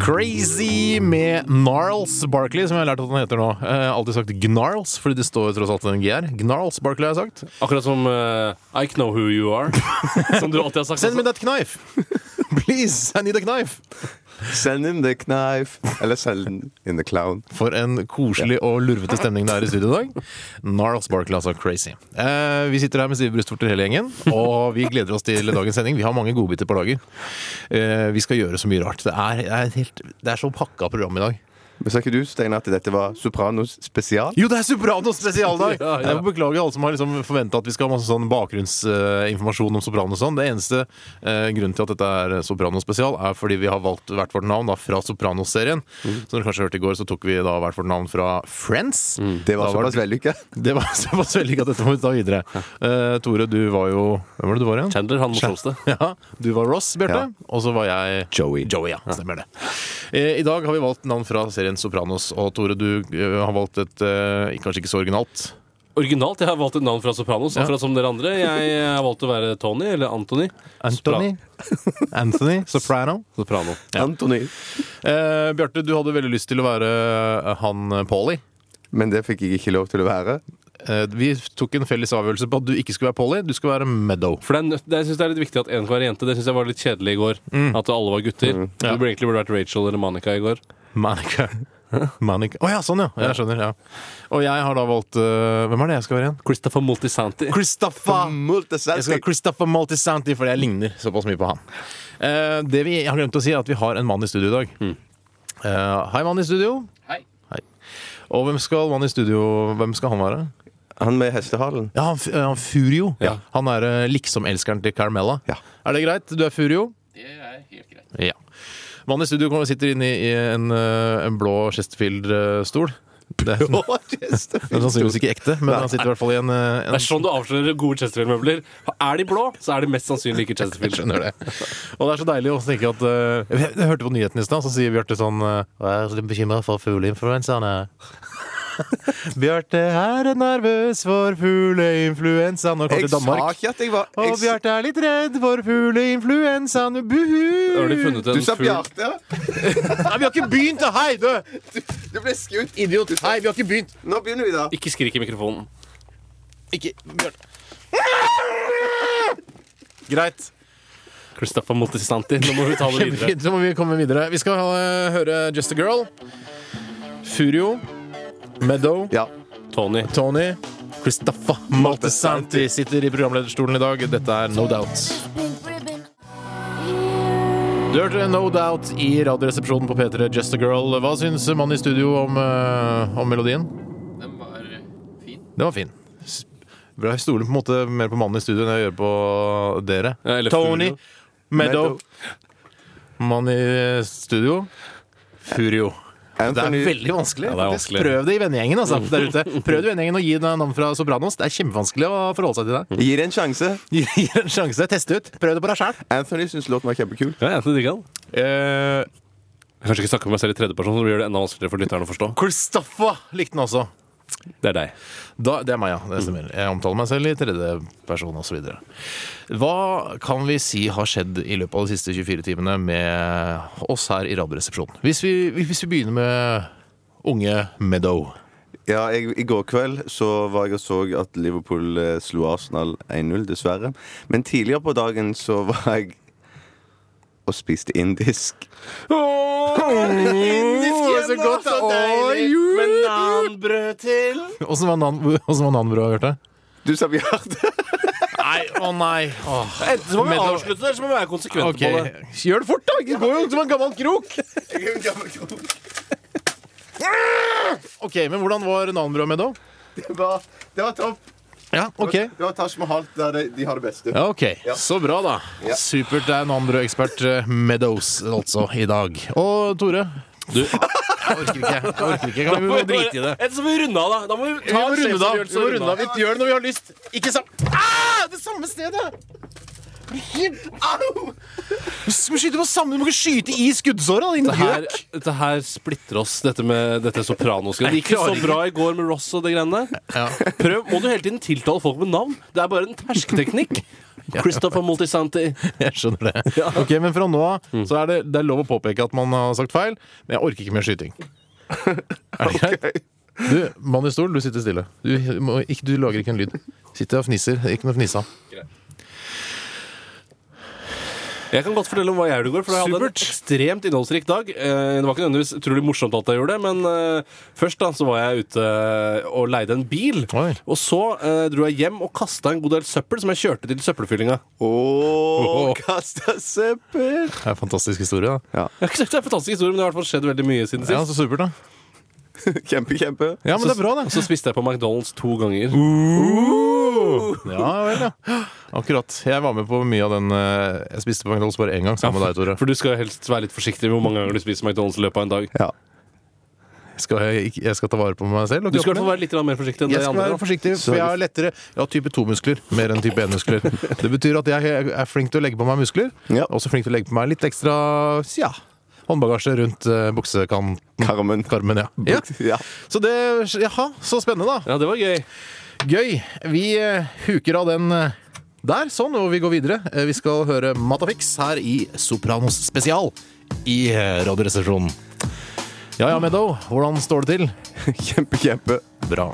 Crazy med Gnarls Barkley, som jeg har lært at han heter nå. Eh, alltid sagt Gnarls, fordi det står tross alt en GR. Gnarls Barkley har jeg sagt. Akkurat som eh, I know who you are. Som du alltid har sagt. Send me that knife! Please, I need a knife! Send him the knife. Eller send in the clown. For en koselig og lurvete stemning det er i studio i dag. Gnarls Barkley, altså. Crazy. Eh, vi sitter her med stive brystvorter hele gjengen, og vi gleder oss til dagens sending. Vi har mange godbiter på lager. Eh, vi skal gjøre så mye rart. Det er, det er, et helt, det er så pakka program i dag. Men sa ikke du, Steinar, at dette var Sopranos spesial? Jo, det er Sopranos spesialdag! Ja, ja. Jeg må beklage alle som har liksom forventa at vi skal ha masse sånn bakgrunnsinformasjon om Sopranos. og Sånn. Det eneste eh, grunnen til at dette er Sopranos spesial, er fordi vi har valgt hvert vårt navn da, fra Sopranos-serien. Som dere kanskje hørte i går, så tok vi da hvert vårt navn fra Friends. Det Da var var såpass vellykka. Det var såpass vellykka at dette må vi ta videre. Eh, Tore, du var jo Hvem var det du var igjen? Chandler, han morsomste. Ja, Du var Ross, Bjarte. Ja. Og så var jeg Joey. ja, stemmer det. Eh, I dag har vi valgt navn fra serien Sopranos. Og Tore, du eh, har valgt et eh, kanskje ikke så originalt. Originalt. Jeg har valgt et navn fra Sopranos, akkurat som dere andre. Jeg eh, har valgt å være Tony, eller Anthony. Anthony. Anthony Soprano. Soprano. Anthony. Eh, Bjarte, du hadde veldig lyst til å være eh, han eh, Paulie. Men det fikk jeg ikke lov til å være. Eh, vi tok en felles avgjørelse på at du ikke skulle være Paulie, du skulle være Meadow. For det er, nødt- det, jeg synes det er litt viktig at én skal være jente. Det syns jeg var litt kjedelig i går. At alle var gutter. Mm. Ja. Du burde egentlig burde vært Rachel eller Monica i går. Manica. Manica. Å ja, sånn ja. Jeg skjønner. ja Og jeg har da valgt eh, Hvem er det jeg skal være igjen? Christopher Multisanti. Christopher Jeg skal ha Multiceltic. Christopher Maltisanti, fordi jeg ligner såpass mye på han. Eh, det vi har glemt å si, er at vi har en mann i studio i dag. Eh, hei, mann i studio. Hei. Og hvem skal mann i studio Hvem skal han være? Han med hestehalen. Ja, han, F- eh, han Furio. Ja. Han er eh, liksom-elskeren til Carmella. Ja. Er det greit? Du er Furio? Det er helt greit. Ja. Mannen i studio kommer- sitter inne i en, eh, en blå Chesterfield-stol. Det er Å, det er sånn Chesterfield. sannsynligvis ikke ekte, men han sitter i hvert fall i en, eh, Det en er sånn du avslører gode Chesterfield-møbler. Er de blå, så er de mest sannsynlig ikke Jeg Chesterfield. skjønner det. Og det er så deilig å tenke at eh, Jeg jeg hørte på nyheten i stad, så sier Bjarte sånn eh, Jeg er litt bekymra for fugleinfluensaene. Bjarte her er nervøs for fugleinfluensaen. Og kom Jeg til sa Danmark. ikke at jeg var Og jeg, Bjarte er litt redd for fugleinfluensaen. Buhu! Har de funnet Du en Sånn sa fugl Bjarte. Nei, vi har ikke begynt! da! Hei, du! Du ble skutt. Idiot. Hei, vi har ikke begynt. Nå begynner vi, da. Ikke skrik i mikrofonen. Ikke Bjarte. Greit. Christopher Multisanti. Nå må vi ta det videre. Fint, så må vi komme videre. Vi skal eh, høre Just a Girl. Furio. Meadow. Ja. Tony. Tony. Christoffa Maltesanti sitter i programlederstolen i dag. Dette er No Doubt. Du hørte No Doubt i Radioresepsjonen på P3 Just a Girl. Hva syns mannen i studio om, eh, om melodien? Den var eh, fin. Den var fin. S- Jeg stoler på en måte mer på mannen i studio enn jeg gjør på dere. Ja, eller Tony Furio. Meadow. Mann i eh, studio Furio. Det er Anthony. veldig vanskelig. Ja, det er faktisk. vanskelig. Prøv det i vennegjengen. Altså, der ute. Prøv det i vennegjengen og gi deg navn fra Sopranos. Det er kjempevanskelig å forholde seg til det. Gi det en sjanse. Gi gi det en sjanse. Teste ut. Prøv det på deg sjæl. Anthony syns låten var kjempekul. Ja, jeg digger han. Eh, Jeg kan Kanskje ikke snakke med meg selv i tredjeperson, så det gjør det enda vanskeligere for lytteren å forstå. Kristoffa likte den også. Det er deg. Da, det er meg, ja. Det stemmer. Jeg omtaler meg selv i tredjeperson osv. Hva kan vi si har skjedd i løpet av de siste 24 timene med oss her i Radioresepsjonen? Hvis, vi- hvis vi begynner med unge Meadow. Ja, jeg, I går kveld så var jeg og så at Liverpool eh, slo Arsenal 1-0, dessverre. Men tidligere på dagen så var jeg og spiste indisk. så godt, da. Oi, jo. Åssen var nan- åssen var nanbrødet, Bjarte? Du sa Bjarte. Nei, å nei. Åh. Enten så må vi Meadow- avslutte, eller så må vi være konsekvente Ok, på det. Gjør det fort, da! Det går jo som en gammel krok. Det Ok, Men hvordan var nanbrødet med, da? var, det var topp. Ja, ok. Det var Taj Mahal der de, de har det beste. Ja, ok. Ja. Så bra, da. Ja. Supert. Det er en Nanbrød-ekspert eh, Meadows altså i dag. Og Tore. Du, Jeg orker ikke. Jeg orker ikke. Kan vi bare drite i det? Enten så må vi runde av, da. Da må vi Vi ta må en runde det av. sjefsavgjørelse Vi må og runde av. runde av. Vi gjør det når vi har lyst. Ikke sam... Ah, det samme stedet! Helt- Au! Du skal skyte på samme Du må ikke skyte i skuddsåra, din Det her, gjøk! dette her splitter oss, dette med dette sopranosgreiet. Det gikk jo så bra i går med Ross og det greiene der. Ja. Prøv, Må du hele tiden tiltale folk med navn? Det er bare en tersketeknikk. Christopher Multisanti. Jeg skjønner det. Mm. Ok, Men fra nå av så er det, det er lov å påpeke at man har sagt feil, men jeg orker ikke mer skyting. Er det greit? Du, mann i stol, du sitter stille. Du, må, ikke, du lager ikke en lyd. Sitter og fnisser. Ikke noe fnisa. Jeg kan godt fortelle om hva jeg gjorde i går, for jeg hadde en ekstremt innholdsrik dag. Eh, Det var ikke nødvendigvis utrolig morsomt at jeg gjorde det, men eh, først da så var jeg ute eh, og leide en bil. Oi. Og så eh, dro jeg hjem og kasta en god del søppel som jeg kjørte til søppelfyllinga. Ååå, kasta søppel! Det er en fantastisk historie, da. Jeg har ikke sagt Det er en fantastisk historie, men det har i hvert fall skjedd veldig mye siden sist. Ja, så supert, da. Kjempe, kjempe. Ja, men det er bra, det. Uh. Og så spiste jeg på McDonald's to ganger. Ja vel, ja. Akkurat. Jeg var med på mye av den eh, Jeg spiste på McDonald's bare én gang sammen med deg, Tore. For du skal jo helst være litt forsiktig med hvor mange ganger du spiser McDonald's i løpet av en dag. Ja. Skal jeg, ikke- jeg skal ta vare på meg selv. og Du skal i hvert kroppen fall være litt grann mer forsiktig enn Jeg de skal andre. være da. forsiktig, for jeg har lettere Jeg har type 2-muskler mer enn type 1-muskler. Det betyr at jeg er flink til å legge på meg muskler, Ja. og også flink til å legge på meg litt ekstra ja, håndbagasje rundt eh, buksekanten. Karmen. Karmen, ja. ja. Ja. Så det Jaha, så spennende, da. Ja, det var gøy. Gøy. Vi eh, huker av den eh, der, sånn, og vi går videre. Eh, Vi skal høre Matafix her i Sopranos spesial i eh, Radioresepsjonen. Ja ja, Meadow, hvordan står det til? Kjempe, kjempe. Bra.